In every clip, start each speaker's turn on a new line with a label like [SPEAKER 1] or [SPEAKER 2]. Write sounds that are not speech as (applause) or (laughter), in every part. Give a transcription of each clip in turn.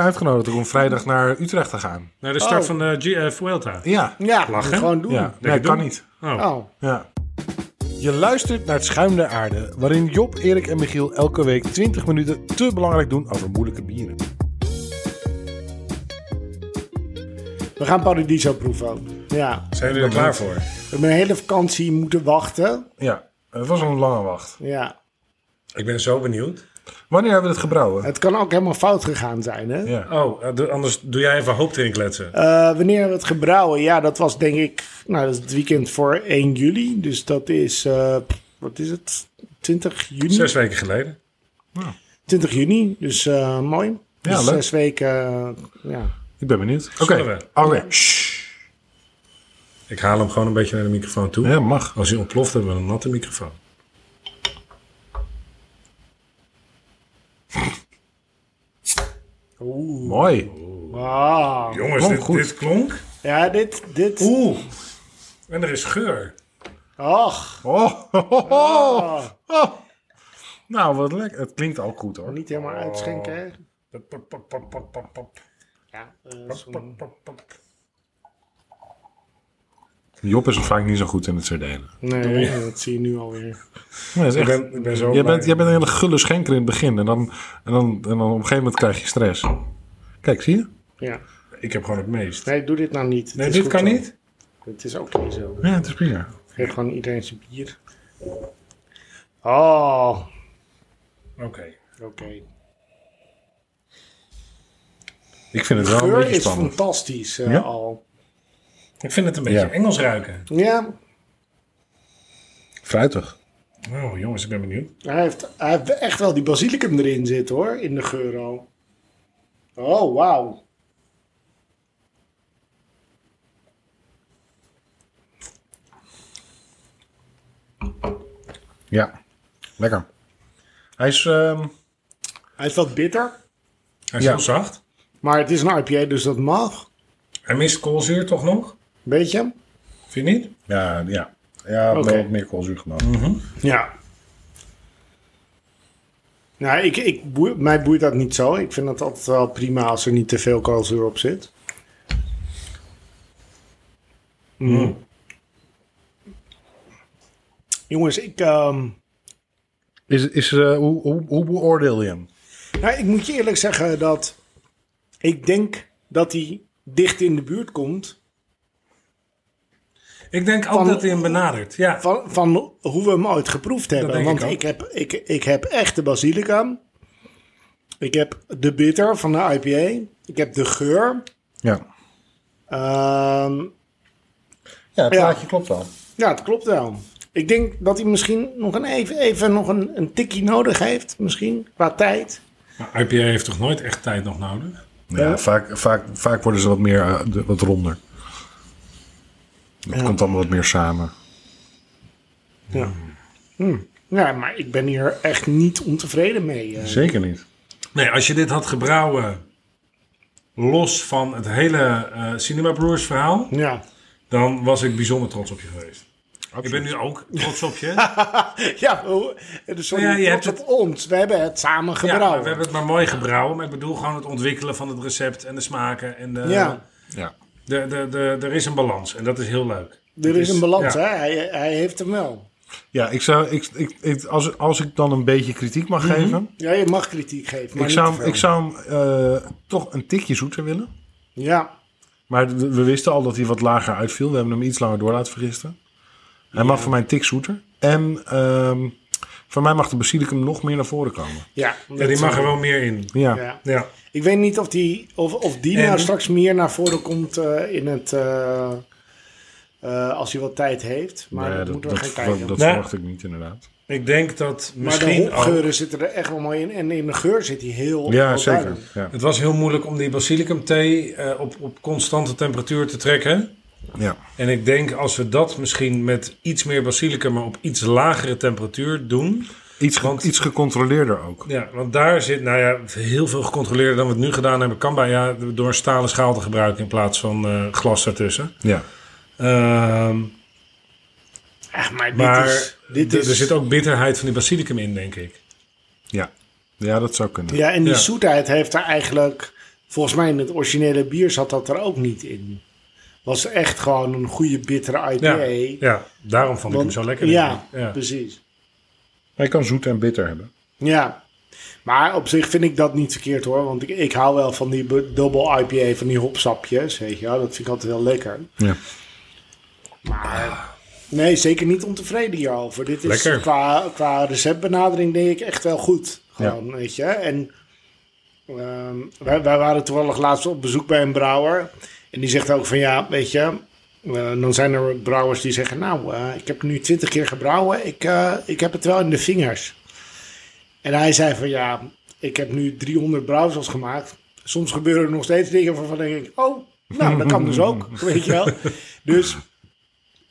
[SPEAKER 1] uitgenodigd om vrijdag naar Utrecht te gaan.
[SPEAKER 2] Naar de start
[SPEAKER 3] Oh.
[SPEAKER 2] van de G eh, Vuelta.
[SPEAKER 1] Ja,
[SPEAKER 3] Ja,
[SPEAKER 2] Lachen.
[SPEAKER 3] moet gewoon doen.
[SPEAKER 1] ja.
[SPEAKER 2] Lekker
[SPEAKER 1] nee, kan
[SPEAKER 2] doen.
[SPEAKER 1] niet.
[SPEAKER 2] Oh.
[SPEAKER 3] Oh.
[SPEAKER 1] Ja. Je luistert naar het Schuim der Aarde, waarin Job, Erik en Michiel elke week 20 minuten te belangrijk doen over moeilijke bieren.
[SPEAKER 3] We gaan Paradiso proeven ook. Ja.
[SPEAKER 2] Zijn jullie er klaar voor?
[SPEAKER 3] We hebben een hele vakantie moeten wachten.
[SPEAKER 1] Ja, het was een lange wacht.
[SPEAKER 3] Ja.
[SPEAKER 2] Ik ben zo benieuwd.
[SPEAKER 1] Wanneer hebben we het gebrouwen?
[SPEAKER 3] Het kan ook helemaal fout gegaan zijn, hè?
[SPEAKER 1] Ja.
[SPEAKER 2] Oh, eh, doe- anders doe jij even hoop erin kletsen.
[SPEAKER 1] Ehm.
[SPEAKER 3] Eh, wanneer we het gebrouwen? Ja, dat was denk ik... Nou, dat is het weekend voor 1 juli. Dus dat is... eh, wat is het? 20 juni?
[SPEAKER 2] Zes weken geleden.
[SPEAKER 3] 20 juni. Dus eh, mooi.
[SPEAKER 1] Ja,
[SPEAKER 3] Dus
[SPEAKER 1] leuk.
[SPEAKER 3] Zes weken... eh, ja.
[SPEAKER 1] Ik ben benieuwd. Oké,
[SPEAKER 2] Zullen
[SPEAKER 1] oké.
[SPEAKER 2] we? Shh. Ik haal hem gewoon een beetje naar de microfoon toe.
[SPEAKER 1] Ja, mag.
[SPEAKER 2] Als hij ontploft, hebben we een natte microfoon.
[SPEAKER 1] Mooi.
[SPEAKER 3] Wauw.
[SPEAKER 2] Jongens,
[SPEAKER 1] Klonk
[SPEAKER 2] dit,
[SPEAKER 1] goed.
[SPEAKER 2] dit klonk.
[SPEAKER 3] Ja, dit... dit...
[SPEAKER 2] Oeh. En er is geur.
[SPEAKER 3] Och,
[SPEAKER 1] Oh, ho, ho, ho.
[SPEAKER 2] Ah.
[SPEAKER 1] Oh. Nou, wat lekker. Het klinkt al goed hoor.
[SPEAKER 3] niet helemaal uitschenken, hè?
[SPEAKER 2] Pop, pop, pop, pop, pop, pop, pop,
[SPEAKER 3] Ja. eh,
[SPEAKER 2] pop, pop, pop.
[SPEAKER 1] Job is vaak niet zo goed in het soort dingen.
[SPEAKER 3] nee, dat zie je nu alweer.
[SPEAKER 1] Nee, dat is
[SPEAKER 2] Ik
[SPEAKER 1] echt-
[SPEAKER 2] ben, ik ben zo
[SPEAKER 1] Jij
[SPEAKER 2] blij.
[SPEAKER 1] bent, jij bent een hele gulle schenker in het begin. En dan, en, dan, en dan op een gegeven moment krijg je stress. Kijk, zie je?
[SPEAKER 3] Ja.
[SPEAKER 2] Ik heb gewoon het meest.
[SPEAKER 3] Nee, doe dit nou niet. Het
[SPEAKER 2] Nee,
[SPEAKER 3] is
[SPEAKER 2] dit
[SPEAKER 3] goed
[SPEAKER 2] kan
[SPEAKER 3] zo.
[SPEAKER 2] niet.
[SPEAKER 3] Het is ook niet zo.
[SPEAKER 1] Ja, het is prima.
[SPEAKER 3] Geef gewoon iedereen zijn bier. Oh,
[SPEAKER 2] Oké.
[SPEAKER 3] oké.
[SPEAKER 1] Nou, Ik vind het
[SPEAKER 3] De
[SPEAKER 1] wel een
[SPEAKER 3] geur
[SPEAKER 1] beetje
[SPEAKER 3] is
[SPEAKER 1] spannend.
[SPEAKER 3] fantastisch eh,
[SPEAKER 1] Ja?
[SPEAKER 3] al.
[SPEAKER 2] Ik vind het een beetje
[SPEAKER 1] Ja.
[SPEAKER 2] Engels ruiken.
[SPEAKER 3] Ja,
[SPEAKER 1] Fruitig.
[SPEAKER 2] Oh, jongens, ik ben benieuwd.
[SPEAKER 3] hij heeft, hij heeft echt wel die basilicum erin zitten hoor, in de geur al. Oh, wauw.
[SPEAKER 1] Ja, lekker. Hij is... ehm,
[SPEAKER 3] Hij is wat bitter,
[SPEAKER 2] Hij is
[SPEAKER 1] Ja.
[SPEAKER 2] heel zacht.
[SPEAKER 3] maar het is een IPA, dus dat mag.
[SPEAKER 2] Hij mist koolzuur toch nog?
[SPEAKER 3] Weet je?
[SPEAKER 2] Vind je niet?
[SPEAKER 1] ja, ja. Ja,
[SPEAKER 3] Oké.
[SPEAKER 1] wel wat meer koolzuur genomen.
[SPEAKER 3] Ja. Nou, ik, ik, boe- mij boeit dat niet zo. Ik vind dat altijd wel prima als er niet te veel koolzuur op zit. Mm. Jongens, ik, ehm,
[SPEAKER 1] Is, is, eh, hoe, hoe, hoe beoordeel je hem?
[SPEAKER 3] nou, ik moet je eerlijk zeggen dat ik denk dat hij dicht in de buurt komt
[SPEAKER 2] Ik denk ook
[SPEAKER 3] Van-
[SPEAKER 2] dat hij hem benadert. Ja.
[SPEAKER 3] van, van hoe we hem ooit geproefd hebben.
[SPEAKER 2] denk ik
[SPEAKER 3] Want
[SPEAKER 2] ook.
[SPEAKER 3] ik, heb, ik, ik heb echt de basilicum. Ik heb de bitter van de IPA. Ik heb de geur.
[SPEAKER 1] Ja.
[SPEAKER 3] Ehm,
[SPEAKER 1] Ja, het
[SPEAKER 3] Ja.
[SPEAKER 1] plaatje klopt wel.
[SPEAKER 3] ja, het klopt wel. Ik denk dat hij misschien nog een even, even nog een, een tikkie nodig heeft. Misschien qua tijd.
[SPEAKER 2] Maar IPA heeft toch nooit echt tijd nog nodig?
[SPEAKER 1] Ja, Vaak, vaak, vaak worden ze wat meer, eh, de- wat ronder. Dat komt allemaal wat meer samen.
[SPEAKER 3] Ja. Hmm. ja, maar ik ben hier echt niet ontevreden mee. eh.
[SPEAKER 1] Zeker niet.
[SPEAKER 2] Nee, als je dit had gebrouwen los van het hele eh Cinema Brewers verhaal,
[SPEAKER 3] Ja. (laughs)
[SPEAKER 2] dan was ik bijzonder trots op je geweest. Ik ben nu ook trots
[SPEAKER 3] (laughs)
[SPEAKER 2] op je.
[SPEAKER 3] ja, oh, dus sorry,
[SPEAKER 2] Ja, je
[SPEAKER 3] trots
[SPEAKER 2] hebt
[SPEAKER 3] op ons. We hebben het samen
[SPEAKER 2] Ja, maar
[SPEAKER 3] gebrouwen.
[SPEAKER 2] we hebben het maar mooi gebrouwen. Maar ik bedoel gewoon het ontwikkelen van het recept en de smaken. En de,
[SPEAKER 3] Ja.
[SPEAKER 1] Ja.
[SPEAKER 2] de, de, de, er is een balans en dat is heel leuk.
[SPEAKER 3] er is een balans,
[SPEAKER 2] eh, dus- ja.
[SPEAKER 3] hè? Hij, hij heeft hem wel.
[SPEAKER 1] Ja, ik zou, ik, ik, ik- als, als ik dan een beetje kritiek mag geven.
[SPEAKER 3] Ja, je mag kritiek geven. Maar
[SPEAKER 1] Ik
[SPEAKER 3] niet
[SPEAKER 1] zou,
[SPEAKER 3] te
[SPEAKER 1] hem-
[SPEAKER 3] veel.
[SPEAKER 1] ik zou hem eh, toch een tikje zoeter willen.
[SPEAKER 3] Ja,
[SPEAKER 1] Maar we we wisten al dat hij wat lager uitviel. We hebben hem iets langer door laten vergisten. Hij mag voor mij een tik zoeter. En ehm voor mij mag de basilicum nog meer naar voren komen.
[SPEAKER 3] ja,
[SPEAKER 2] Ja, die
[SPEAKER 3] dat-
[SPEAKER 2] mag er wel meer in.
[SPEAKER 1] Ja.
[SPEAKER 3] Ja.
[SPEAKER 2] Ja.
[SPEAKER 3] Ik weet niet of die, of, of die
[SPEAKER 2] En-
[SPEAKER 3] nou straks meer naar voren komt eh, in het. eh, eh, als hij wat tijd heeft. Maar
[SPEAKER 1] Nee,
[SPEAKER 3] dat,
[SPEAKER 1] dat,
[SPEAKER 3] moeten we
[SPEAKER 1] dat
[SPEAKER 3] gaan
[SPEAKER 1] ver-
[SPEAKER 3] kijken.
[SPEAKER 1] dat
[SPEAKER 2] Nee.
[SPEAKER 1] verwacht ik niet inderdaad.
[SPEAKER 2] Ik denk dat
[SPEAKER 3] maar de
[SPEAKER 2] misschien ook...
[SPEAKER 3] hopgeuren zitten er echt wel mooi in. En in de geur zit hij heel.
[SPEAKER 1] Ja,
[SPEAKER 3] heel
[SPEAKER 1] zeker.
[SPEAKER 3] duidelijk.
[SPEAKER 1] Ja.
[SPEAKER 2] Het was heel moeilijk om die basilicum thee eh, op, op constante temperatuur te trekken.
[SPEAKER 1] Ja.
[SPEAKER 2] En ik denk als we dat misschien met iets meer basilicum, maar op iets lagere temperatuur doen.
[SPEAKER 1] Iets, ge-
[SPEAKER 2] Want-
[SPEAKER 1] iets gecontroleerder ook.
[SPEAKER 2] Ja, want daar zit, nou ja, heel veel gecontroleerder dan we het nu gedaan hebben. Kan bij, ja, door een stalen schaal te gebruiken in plaats van eh, glas ertussen.
[SPEAKER 1] Ja.
[SPEAKER 2] Ehm,
[SPEAKER 3] Echt, maar dit
[SPEAKER 2] maar
[SPEAKER 3] is. Dit
[SPEAKER 2] d-
[SPEAKER 3] is
[SPEAKER 2] er zit ook bitterheid van die basilicum in, denk ik.
[SPEAKER 1] Ja. Ja, dat zou kunnen.
[SPEAKER 3] Ja, en die
[SPEAKER 2] Ja.
[SPEAKER 3] zoetheid heeft er eigenlijk Volgens mij in het originele bier zat dat er ook niet in. Was echt gewoon een goede bittere IPA.
[SPEAKER 2] Ja, ja, daarom vond ik hem
[SPEAKER 3] Want-
[SPEAKER 2] zo lekker.
[SPEAKER 3] Ja,
[SPEAKER 2] denk ik. Ja.
[SPEAKER 3] precies.
[SPEAKER 1] Hij kan zoet en bitter hebben.
[SPEAKER 3] Ja. Maar op zich vind ik dat niet verkeerd hoor. Want ik, ik hou wel van die bu- double IPA, van die hopsapjes. Weet je wel. Dat vind ik altijd heel lekker.
[SPEAKER 1] Ja.
[SPEAKER 3] Maar nee, zeker niet ontevreden hierover. Dit is
[SPEAKER 2] Lekker.
[SPEAKER 3] qua, qua receptbenadering denk ik echt wel goed. Gewoon, weet je. En ehm, wij, wij waren toevallig laatst op bezoek bij een brouwer. En die zegt ook van ja, weet je. eh, dan zijn er brouwers die zeggen, nou, eh, ik heb nu twintig keer gebrouwen. Ik, eh, ik heb het wel in de vingers. En hij zei van ja, ik heb nu 300 brouwsels gemaakt. Soms gebeuren er nog steeds dingen waarvan denk ik, oh, nou, dat kan dus ook, weet je wel. Dus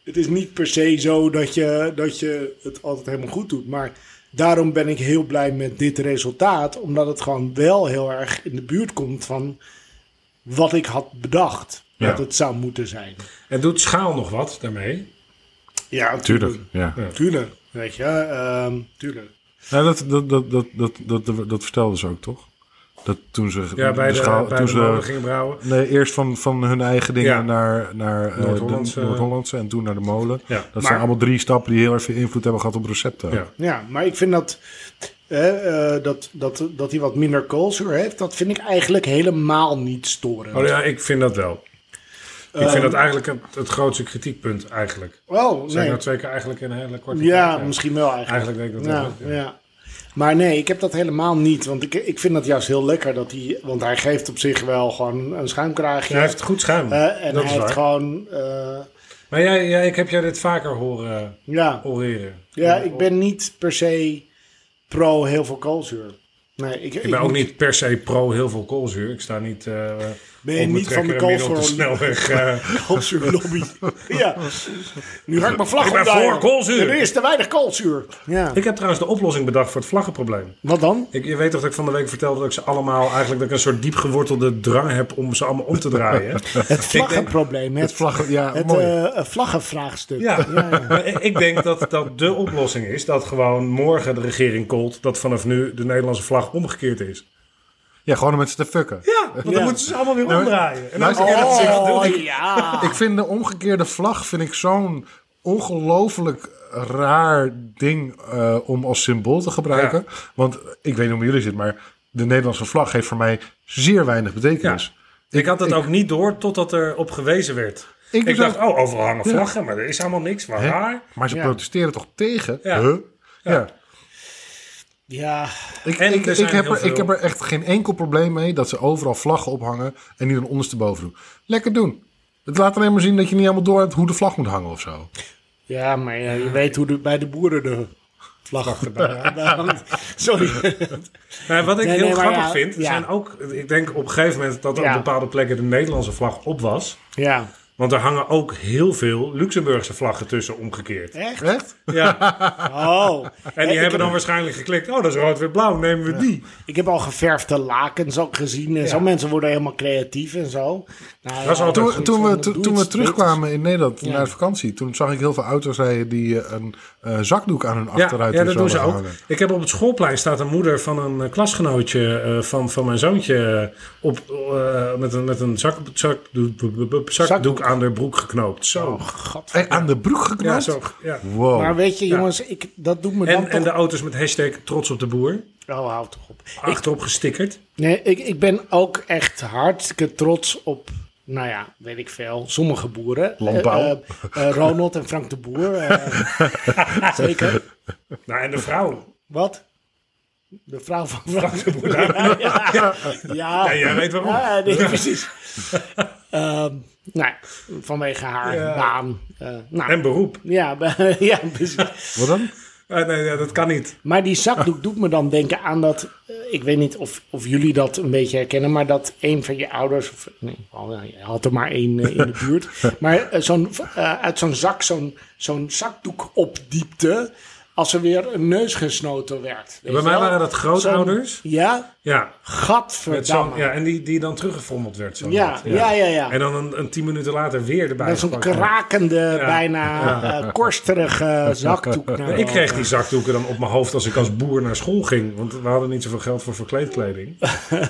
[SPEAKER 3] het is niet per se zo dat je, dat je het altijd helemaal goed doet. Maar daarom ben ik heel blij met dit resultaat. Omdat het gewoon wel heel erg in de buurt komt van wat ik had bedacht.
[SPEAKER 1] Ja.
[SPEAKER 3] Dat het zou moeten zijn.
[SPEAKER 2] En doet schaal nog wat daarmee?
[SPEAKER 3] Ja,
[SPEAKER 1] Tuurlijk, ja.
[SPEAKER 3] Tuurlijk, weet je. ehm, tuurlijk.
[SPEAKER 1] Nou, dat, dat, dat, dat, dat, dat, dat, vertelden ze ook, toch? Dat toen ze
[SPEAKER 2] Ja, bij de,
[SPEAKER 1] schaal-
[SPEAKER 2] bij
[SPEAKER 1] toen
[SPEAKER 2] de
[SPEAKER 1] ze-
[SPEAKER 2] molen gingen brouwen.
[SPEAKER 1] Nee, eerst van, van hun eigen dingen
[SPEAKER 2] Ja.
[SPEAKER 1] naar, naar eh, de
[SPEAKER 2] Noord-Hollandse.
[SPEAKER 1] Noord-Hollandse en toen naar de molen.
[SPEAKER 2] Ja,
[SPEAKER 1] dat
[SPEAKER 2] maar-
[SPEAKER 1] zijn allemaal drie stappen die heel erg veel invloed hebben gehad op recepten. ook.
[SPEAKER 2] Ja.
[SPEAKER 3] Ja, maar ik vind dat, eh, eh, dat, dat, dat hij wat minder koolzuur heeft, dat vind ik eigenlijk helemaal niet storend.
[SPEAKER 2] Oh ja, ik vind dat wel. Ik
[SPEAKER 3] Ehm,
[SPEAKER 2] vind dat eigenlijk het, het grootste kritiekpunt eigenlijk.
[SPEAKER 3] Oh,
[SPEAKER 2] Zijn
[SPEAKER 3] nee.
[SPEAKER 2] nou twee keer eigenlijk in een hele korte
[SPEAKER 3] Ja,
[SPEAKER 2] tijd?
[SPEAKER 3] misschien wel eigenlijk.
[SPEAKER 2] Eigenlijk denk ik dat
[SPEAKER 3] Ja,
[SPEAKER 2] wel.
[SPEAKER 3] ja. Maar nee, ik heb dat helemaal niet. Want ik, ik vind dat juist heel lekker. Dat hij, want hij geeft op zich wel gewoon een schuimkraagje.
[SPEAKER 2] Hij heeft goed schuim.
[SPEAKER 3] Eh, en
[SPEAKER 2] dat
[SPEAKER 3] hij
[SPEAKER 2] is waar.
[SPEAKER 3] heeft gewoon... eh,
[SPEAKER 2] Maar jij, jij, ik heb jou dit vaker horen
[SPEAKER 3] ja.
[SPEAKER 2] oreren.
[SPEAKER 3] ja, ik ben niet per se pro heel veel koolzuur. Nee, ik,
[SPEAKER 2] Ik ben ook niet per se pro heel veel koolzuur. Ik sta niet. eh
[SPEAKER 3] Ben je
[SPEAKER 2] op mijn
[SPEAKER 3] niet van de
[SPEAKER 2] trekker midden op de
[SPEAKER 3] koolzuur-
[SPEAKER 2] snelweg.
[SPEAKER 3] (laughs)
[SPEAKER 2] eh.
[SPEAKER 3] koolzuur
[SPEAKER 2] (laughs)
[SPEAKER 3] lobby. ja. Nu ga ik mijn vlag
[SPEAKER 2] Ik ben
[SPEAKER 3] opdraaien.
[SPEAKER 2] voor koolzuur.
[SPEAKER 3] Er is te weinig koolzuur. Ja.
[SPEAKER 2] ik heb trouwens de oplossing bedacht voor het vlaggenprobleem.
[SPEAKER 3] Wat dan?
[SPEAKER 2] Ik, je weet toch dat ik van de week vertelde dat ik ze allemaal eigenlijk dat ik een soort diep gewortelde drang heb om ze allemaal om te
[SPEAKER 3] (laughs)
[SPEAKER 2] draaien.
[SPEAKER 3] Het vlaggenprobleem. Het,
[SPEAKER 1] Het vlaggen, ja,
[SPEAKER 3] het
[SPEAKER 1] mooi.
[SPEAKER 3] eh,
[SPEAKER 2] (laughs)
[SPEAKER 3] vlaggenvraagstuk.
[SPEAKER 2] Ja, maar ik- ik denk dat dat de oplossing is dat gewoon morgen de regering koolt dat vanaf nu de Nederlandse vlag omgekeerd is.
[SPEAKER 1] ja, gewoon om met ze te fucken.
[SPEAKER 2] Ja, want
[SPEAKER 3] Ja.
[SPEAKER 2] dan moeten ze allemaal weer omdraaien. En dan
[SPEAKER 1] Luister,
[SPEAKER 2] is het-
[SPEAKER 3] Oh, ja.
[SPEAKER 1] Ik vind de omgekeerde vlag vind ik zo'n ongelooflijk raar ding eh, om als symbool te gebruiken. Want ik weet niet hoe jullie zitten, maar de Nederlandse vlag heeft voor mij zeer weinig betekenis.
[SPEAKER 2] Ik had dat ook niet door totdat er op gewezen werd.
[SPEAKER 1] Ik
[SPEAKER 2] Ik,
[SPEAKER 1] dus
[SPEAKER 2] dacht, oh, overal hangen vlaggen, maar er is allemaal niks. Waar
[SPEAKER 1] Hè?
[SPEAKER 2] raar.
[SPEAKER 1] Maar ze
[SPEAKER 3] Ja.
[SPEAKER 1] protesteren toch tegen?
[SPEAKER 2] Ja.
[SPEAKER 1] Huh? Ja.
[SPEAKER 3] Ja.
[SPEAKER 1] Ik,
[SPEAKER 2] En
[SPEAKER 1] ik,
[SPEAKER 2] er
[SPEAKER 1] ik,
[SPEAKER 2] zijn
[SPEAKER 1] heb
[SPEAKER 2] heel
[SPEAKER 1] er, ik
[SPEAKER 2] veel-
[SPEAKER 1] heb er echt geen enkel probleem mee dat ze overal vlaggen ophangen en die dan ondersteboven doen. Lekker doen. Het laat alleen maar zien dat je niet helemaal door hebt hoe de vlag moet hangen of zo.
[SPEAKER 3] Ja, maar ja, je weet hoe de, bij de boeren de vlag gedaan
[SPEAKER 2] (laughs)
[SPEAKER 3] hangt. Sorry.
[SPEAKER 2] Nou, wat ik
[SPEAKER 3] Nee,
[SPEAKER 2] heel
[SPEAKER 3] nee, maar
[SPEAKER 2] grappig
[SPEAKER 3] ja,
[SPEAKER 2] vind,
[SPEAKER 3] ja.
[SPEAKER 2] zijn ook... Ik denk op een gegeven moment dat
[SPEAKER 3] Ja.
[SPEAKER 2] op bepaalde plekken de Nederlandse vlag op was.
[SPEAKER 3] ja.
[SPEAKER 2] Want er hangen ook heel veel Luxemburgse vlaggen tussen omgekeerd.
[SPEAKER 3] Echt?
[SPEAKER 1] Echt?
[SPEAKER 2] Ja.
[SPEAKER 3] Oh.
[SPEAKER 2] En
[SPEAKER 3] Ja,
[SPEAKER 2] die
[SPEAKER 3] ik
[SPEAKER 2] hebben
[SPEAKER 3] heb-
[SPEAKER 2] dan waarschijnlijk geklikt... Oh, dat is rood, weer blauw, nemen we die.
[SPEAKER 3] Ik heb al geverfde lakens ook gezien en zo. Mensen worden helemaal creatief en zo. Nou,
[SPEAKER 2] Dat is altijd
[SPEAKER 1] Toen,
[SPEAKER 2] goed.
[SPEAKER 1] toen, we, toen,
[SPEAKER 3] doe
[SPEAKER 1] toen we
[SPEAKER 3] iets
[SPEAKER 1] terugkwamen in Nederland
[SPEAKER 3] Ja.
[SPEAKER 1] naar de vakantie, toen zag ik heel veel auto's rijden die eh, een eh, zakdoek aan hun
[SPEAKER 2] Ja,
[SPEAKER 1] achteruit
[SPEAKER 2] ja, dat
[SPEAKER 1] en zo
[SPEAKER 2] doen ze
[SPEAKER 1] hadden
[SPEAKER 2] ook.
[SPEAKER 1] hangen.
[SPEAKER 2] Ik heb op het schoolplein staat een moeder van een eh, klasgenootje eh, van, van mijn zoontje eh, op, eh, met een, met een zak, zakdoek, zakdoek aan de broek geknoopt. Zo.
[SPEAKER 3] Oh, god.
[SPEAKER 1] Eh, aan de broek
[SPEAKER 2] Ja,
[SPEAKER 1] geknoopt?
[SPEAKER 2] zo. Oh, Ja.
[SPEAKER 1] Wow.
[SPEAKER 3] Maar weet je, jongens, ik, dat doet me dan
[SPEAKER 2] En, en
[SPEAKER 3] toch...
[SPEAKER 2] de auto's met hashtag trots op de boer.
[SPEAKER 3] Oh, hou toch op.
[SPEAKER 2] Achterop gestickerd.
[SPEAKER 3] Nee, ik, ik ben ook echt hartstikke trots op, nou ja, weet ik veel, sommige boeren.
[SPEAKER 1] Landbouw.
[SPEAKER 3] Eh, eh, eh, Ronald en Frank de Boer.
[SPEAKER 2] (laughs)
[SPEAKER 3] eh, zeker.
[SPEAKER 2] Nou, en de
[SPEAKER 3] Oh.
[SPEAKER 2] vrouw.
[SPEAKER 3] Wat? De vrouw van Frank de Boer.
[SPEAKER 2] Nou,
[SPEAKER 3] Ja,
[SPEAKER 2] Ja, jij weet waarom.
[SPEAKER 3] Ja, nee, precies. Ehm, nou, vanwege haar naam. Eh, nou,
[SPEAKER 2] en beroep.
[SPEAKER 3] ja, (laughs) be- ja, precies.
[SPEAKER 1] Wat dan?
[SPEAKER 2] Eh, nee, ja, dat kan niet.
[SPEAKER 3] Maar die zakdoek doet me dan denken aan dat... eh, ik weet niet of, of jullie dat een beetje herkennen... maar dat een van je ouders... Of, nee, oh, ja, je had er maar één eh, in de buurt. Maar eh, zo'n, eh, uit zo'n zak zo'n, zo'n zakdoek opdiepte... als er weer een neusgesnoten werd.
[SPEAKER 2] Bij
[SPEAKER 3] weet je
[SPEAKER 2] mij
[SPEAKER 3] wel?
[SPEAKER 2] waren dat grootouders.
[SPEAKER 3] Ja?
[SPEAKER 2] Ja, met zo'n,
[SPEAKER 3] Gadverdamme.
[SPEAKER 2] ja, en die, die dan teruggefrommeld werd. Zo
[SPEAKER 3] Ja,
[SPEAKER 2] net.
[SPEAKER 3] ja, ja, ja.
[SPEAKER 2] En dan een, een tien minuten later weer erbij
[SPEAKER 3] Met zo'n
[SPEAKER 2] gepakt.
[SPEAKER 3] krakende, bijna eh, korsterige zakdoek.
[SPEAKER 2] Nou, Ik kreeg die zakdoeken dan op mijn hoofd als ik als boer naar school ging. Want we hadden niet zoveel geld voor
[SPEAKER 3] (laughs)
[SPEAKER 2] verkleedkleding.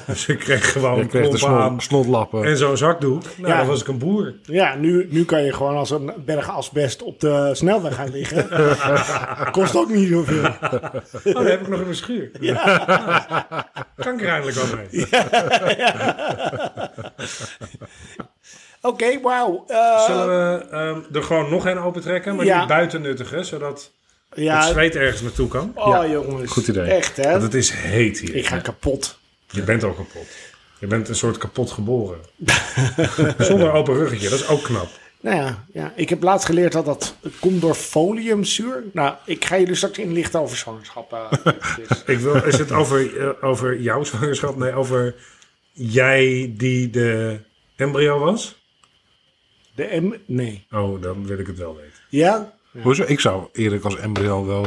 [SPEAKER 2] dus ik kreeg gewoon
[SPEAKER 1] Je
[SPEAKER 2] een
[SPEAKER 1] kreeg de
[SPEAKER 2] klomp aan
[SPEAKER 1] snot, snotlappen.
[SPEAKER 2] en zo'n zakdoek. Nou,
[SPEAKER 3] Ja.
[SPEAKER 2] dan was ik een boer.
[SPEAKER 3] Ja, nu, nu kan je gewoon als een berg asbest op de snelweg gaan liggen.
[SPEAKER 2] (laughs)
[SPEAKER 3] Kost ook niet zoveel.
[SPEAKER 2] Oh, dat heb ik nog in mijn schuur. (laughs) Kan ik er eindelijk wel mee.
[SPEAKER 3] Oké, wauw. Eh,
[SPEAKER 2] Zullen we ehm, er gewoon nog een open trekken? Maar
[SPEAKER 3] Ja.
[SPEAKER 2] die buiten nuttigen, zodat het
[SPEAKER 3] ja,
[SPEAKER 2] zweet ergens naartoe kan.
[SPEAKER 3] oh jongens.
[SPEAKER 1] goed idee.
[SPEAKER 3] Echt hè.
[SPEAKER 2] Want het is heet hier.
[SPEAKER 3] Ik ga kapot.
[SPEAKER 2] Je bent al kapot. Je bent een soort kapot geboren. (laughs) Zonder open ruggetje, dat is ook knap.
[SPEAKER 3] Nou ja, ja, ik heb laatst geleerd dat dat komt door foliumzuur. Nou, ik ga jullie straks inlichten over
[SPEAKER 2] (laughs)
[SPEAKER 3] zwangerschap. eh, dus.
[SPEAKER 2] Ik wil, is het over, eh, over jouw zwangerschap? Nee, over jij die de embryo was?
[SPEAKER 3] De M? Nee.
[SPEAKER 2] Oh, dan wil ik het wel weten.
[SPEAKER 3] Ja?
[SPEAKER 1] Hoezo? Ik zou Erik als embryo wel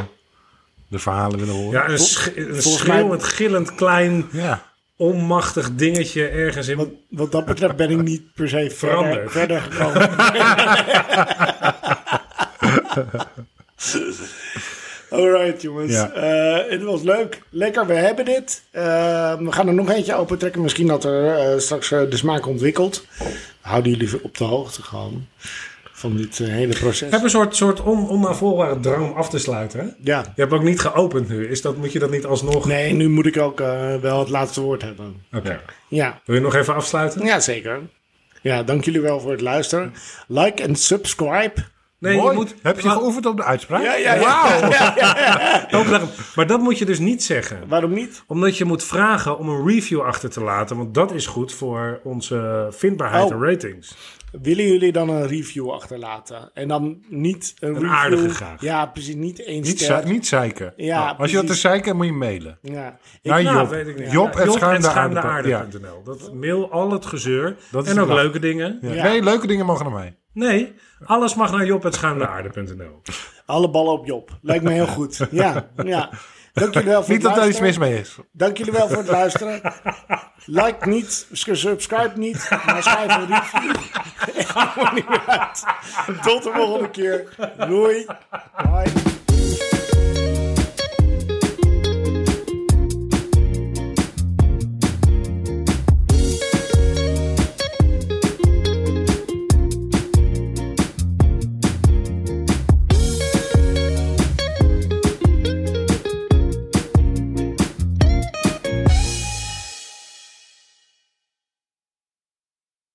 [SPEAKER 1] de verhalen willen horen.
[SPEAKER 2] Ja, een, sch een
[SPEAKER 3] volgens mij-
[SPEAKER 2] schreeuwend, gillend, klein,
[SPEAKER 1] Ja.
[SPEAKER 2] onmachtig dingetje ergens in...
[SPEAKER 3] Wat, wat dat betreft ben ik niet per se verder,
[SPEAKER 2] Veranderd.
[SPEAKER 3] verder gekomen. Alright jongens,
[SPEAKER 1] Ja.
[SPEAKER 3] Eh, het was leuk. Lekker, we hebben dit. Eh, we gaan er nog eentje open trekken. Misschien dat er eh, straks eh, de smaak ontwikkelt. We houden jullie op de hoogte gewoon van dit eh, hele proces.
[SPEAKER 2] Ik heb een soort, soort on, onnavolgbare drang om af te sluiten. Hè?
[SPEAKER 3] Ja.
[SPEAKER 2] Je hebt ook niet geopend nu. Is dat, moet je dat niet alsnog...
[SPEAKER 3] Nee, nu moet ik ook eh, wel het laatste woord hebben.
[SPEAKER 2] Oké.
[SPEAKER 3] Ja.
[SPEAKER 2] Wil je nog even afsluiten?
[SPEAKER 3] ja, zeker. Ja, dank jullie wel voor het luisteren. Like en subscribe.
[SPEAKER 2] Nee,
[SPEAKER 1] Mooi.
[SPEAKER 2] je moet...
[SPEAKER 1] Heb je geoefend op de uitspraak?
[SPEAKER 3] Ja, ja, ja.
[SPEAKER 1] Wauw.
[SPEAKER 2] Ook zeggen- Maar dat moet je dus niet zeggen.
[SPEAKER 3] Waarom niet?
[SPEAKER 2] Omdat je moet vragen om een review achter te laten. Want dat is goed voor onze vindbaarheid
[SPEAKER 3] Oh.
[SPEAKER 2] en ratings.
[SPEAKER 3] Willen jullie dan een review achterlaten? En dan niet een, review.
[SPEAKER 2] aardige graag.
[SPEAKER 3] Ja, precies. Niet één
[SPEAKER 1] Niet,
[SPEAKER 3] ster.
[SPEAKER 1] zei- niet zeiken.
[SPEAKER 3] Ja,
[SPEAKER 1] Nou, als je dat te
[SPEAKER 3] precies.
[SPEAKER 1] zeiken, moet je mailen.
[SPEAKER 3] Ja. Ik-
[SPEAKER 1] Naar
[SPEAKER 2] Nou,
[SPEAKER 1] Job.
[SPEAKER 2] weet ik niet.
[SPEAKER 1] Job,
[SPEAKER 2] Ja,
[SPEAKER 1] at schuin de
[SPEAKER 2] schuin de
[SPEAKER 1] aarde. Ja.
[SPEAKER 2] aarde.nl. Dat mail al het gezeur.
[SPEAKER 1] Dat is
[SPEAKER 2] en
[SPEAKER 1] de
[SPEAKER 2] ook
[SPEAKER 1] laag.
[SPEAKER 2] leuke dingen.
[SPEAKER 1] Ja.
[SPEAKER 3] Ja.
[SPEAKER 1] Nee, leuke dingen mogen naar mij.
[SPEAKER 2] Nee, alles mag naar Job, het schuin de aarde.nl.
[SPEAKER 3] Alle ballen op Job. Lijkt me heel goed. Ja, ja. Dank jullie wel voor
[SPEAKER 1] Niet
[SPEAKER 3] het
[SPEAKER 1] dat daar iets
[SPEAKER 3] luisteren.
[SPEAKER 1] mis mee is.
[SPEAKER 3] Dank jullie wel voor het luisteren. Like niet, subscribe niet, maar schrijf een review. (laughs) Ik kom er niet meer uit. Tot de volgende keer. Doei. Bye.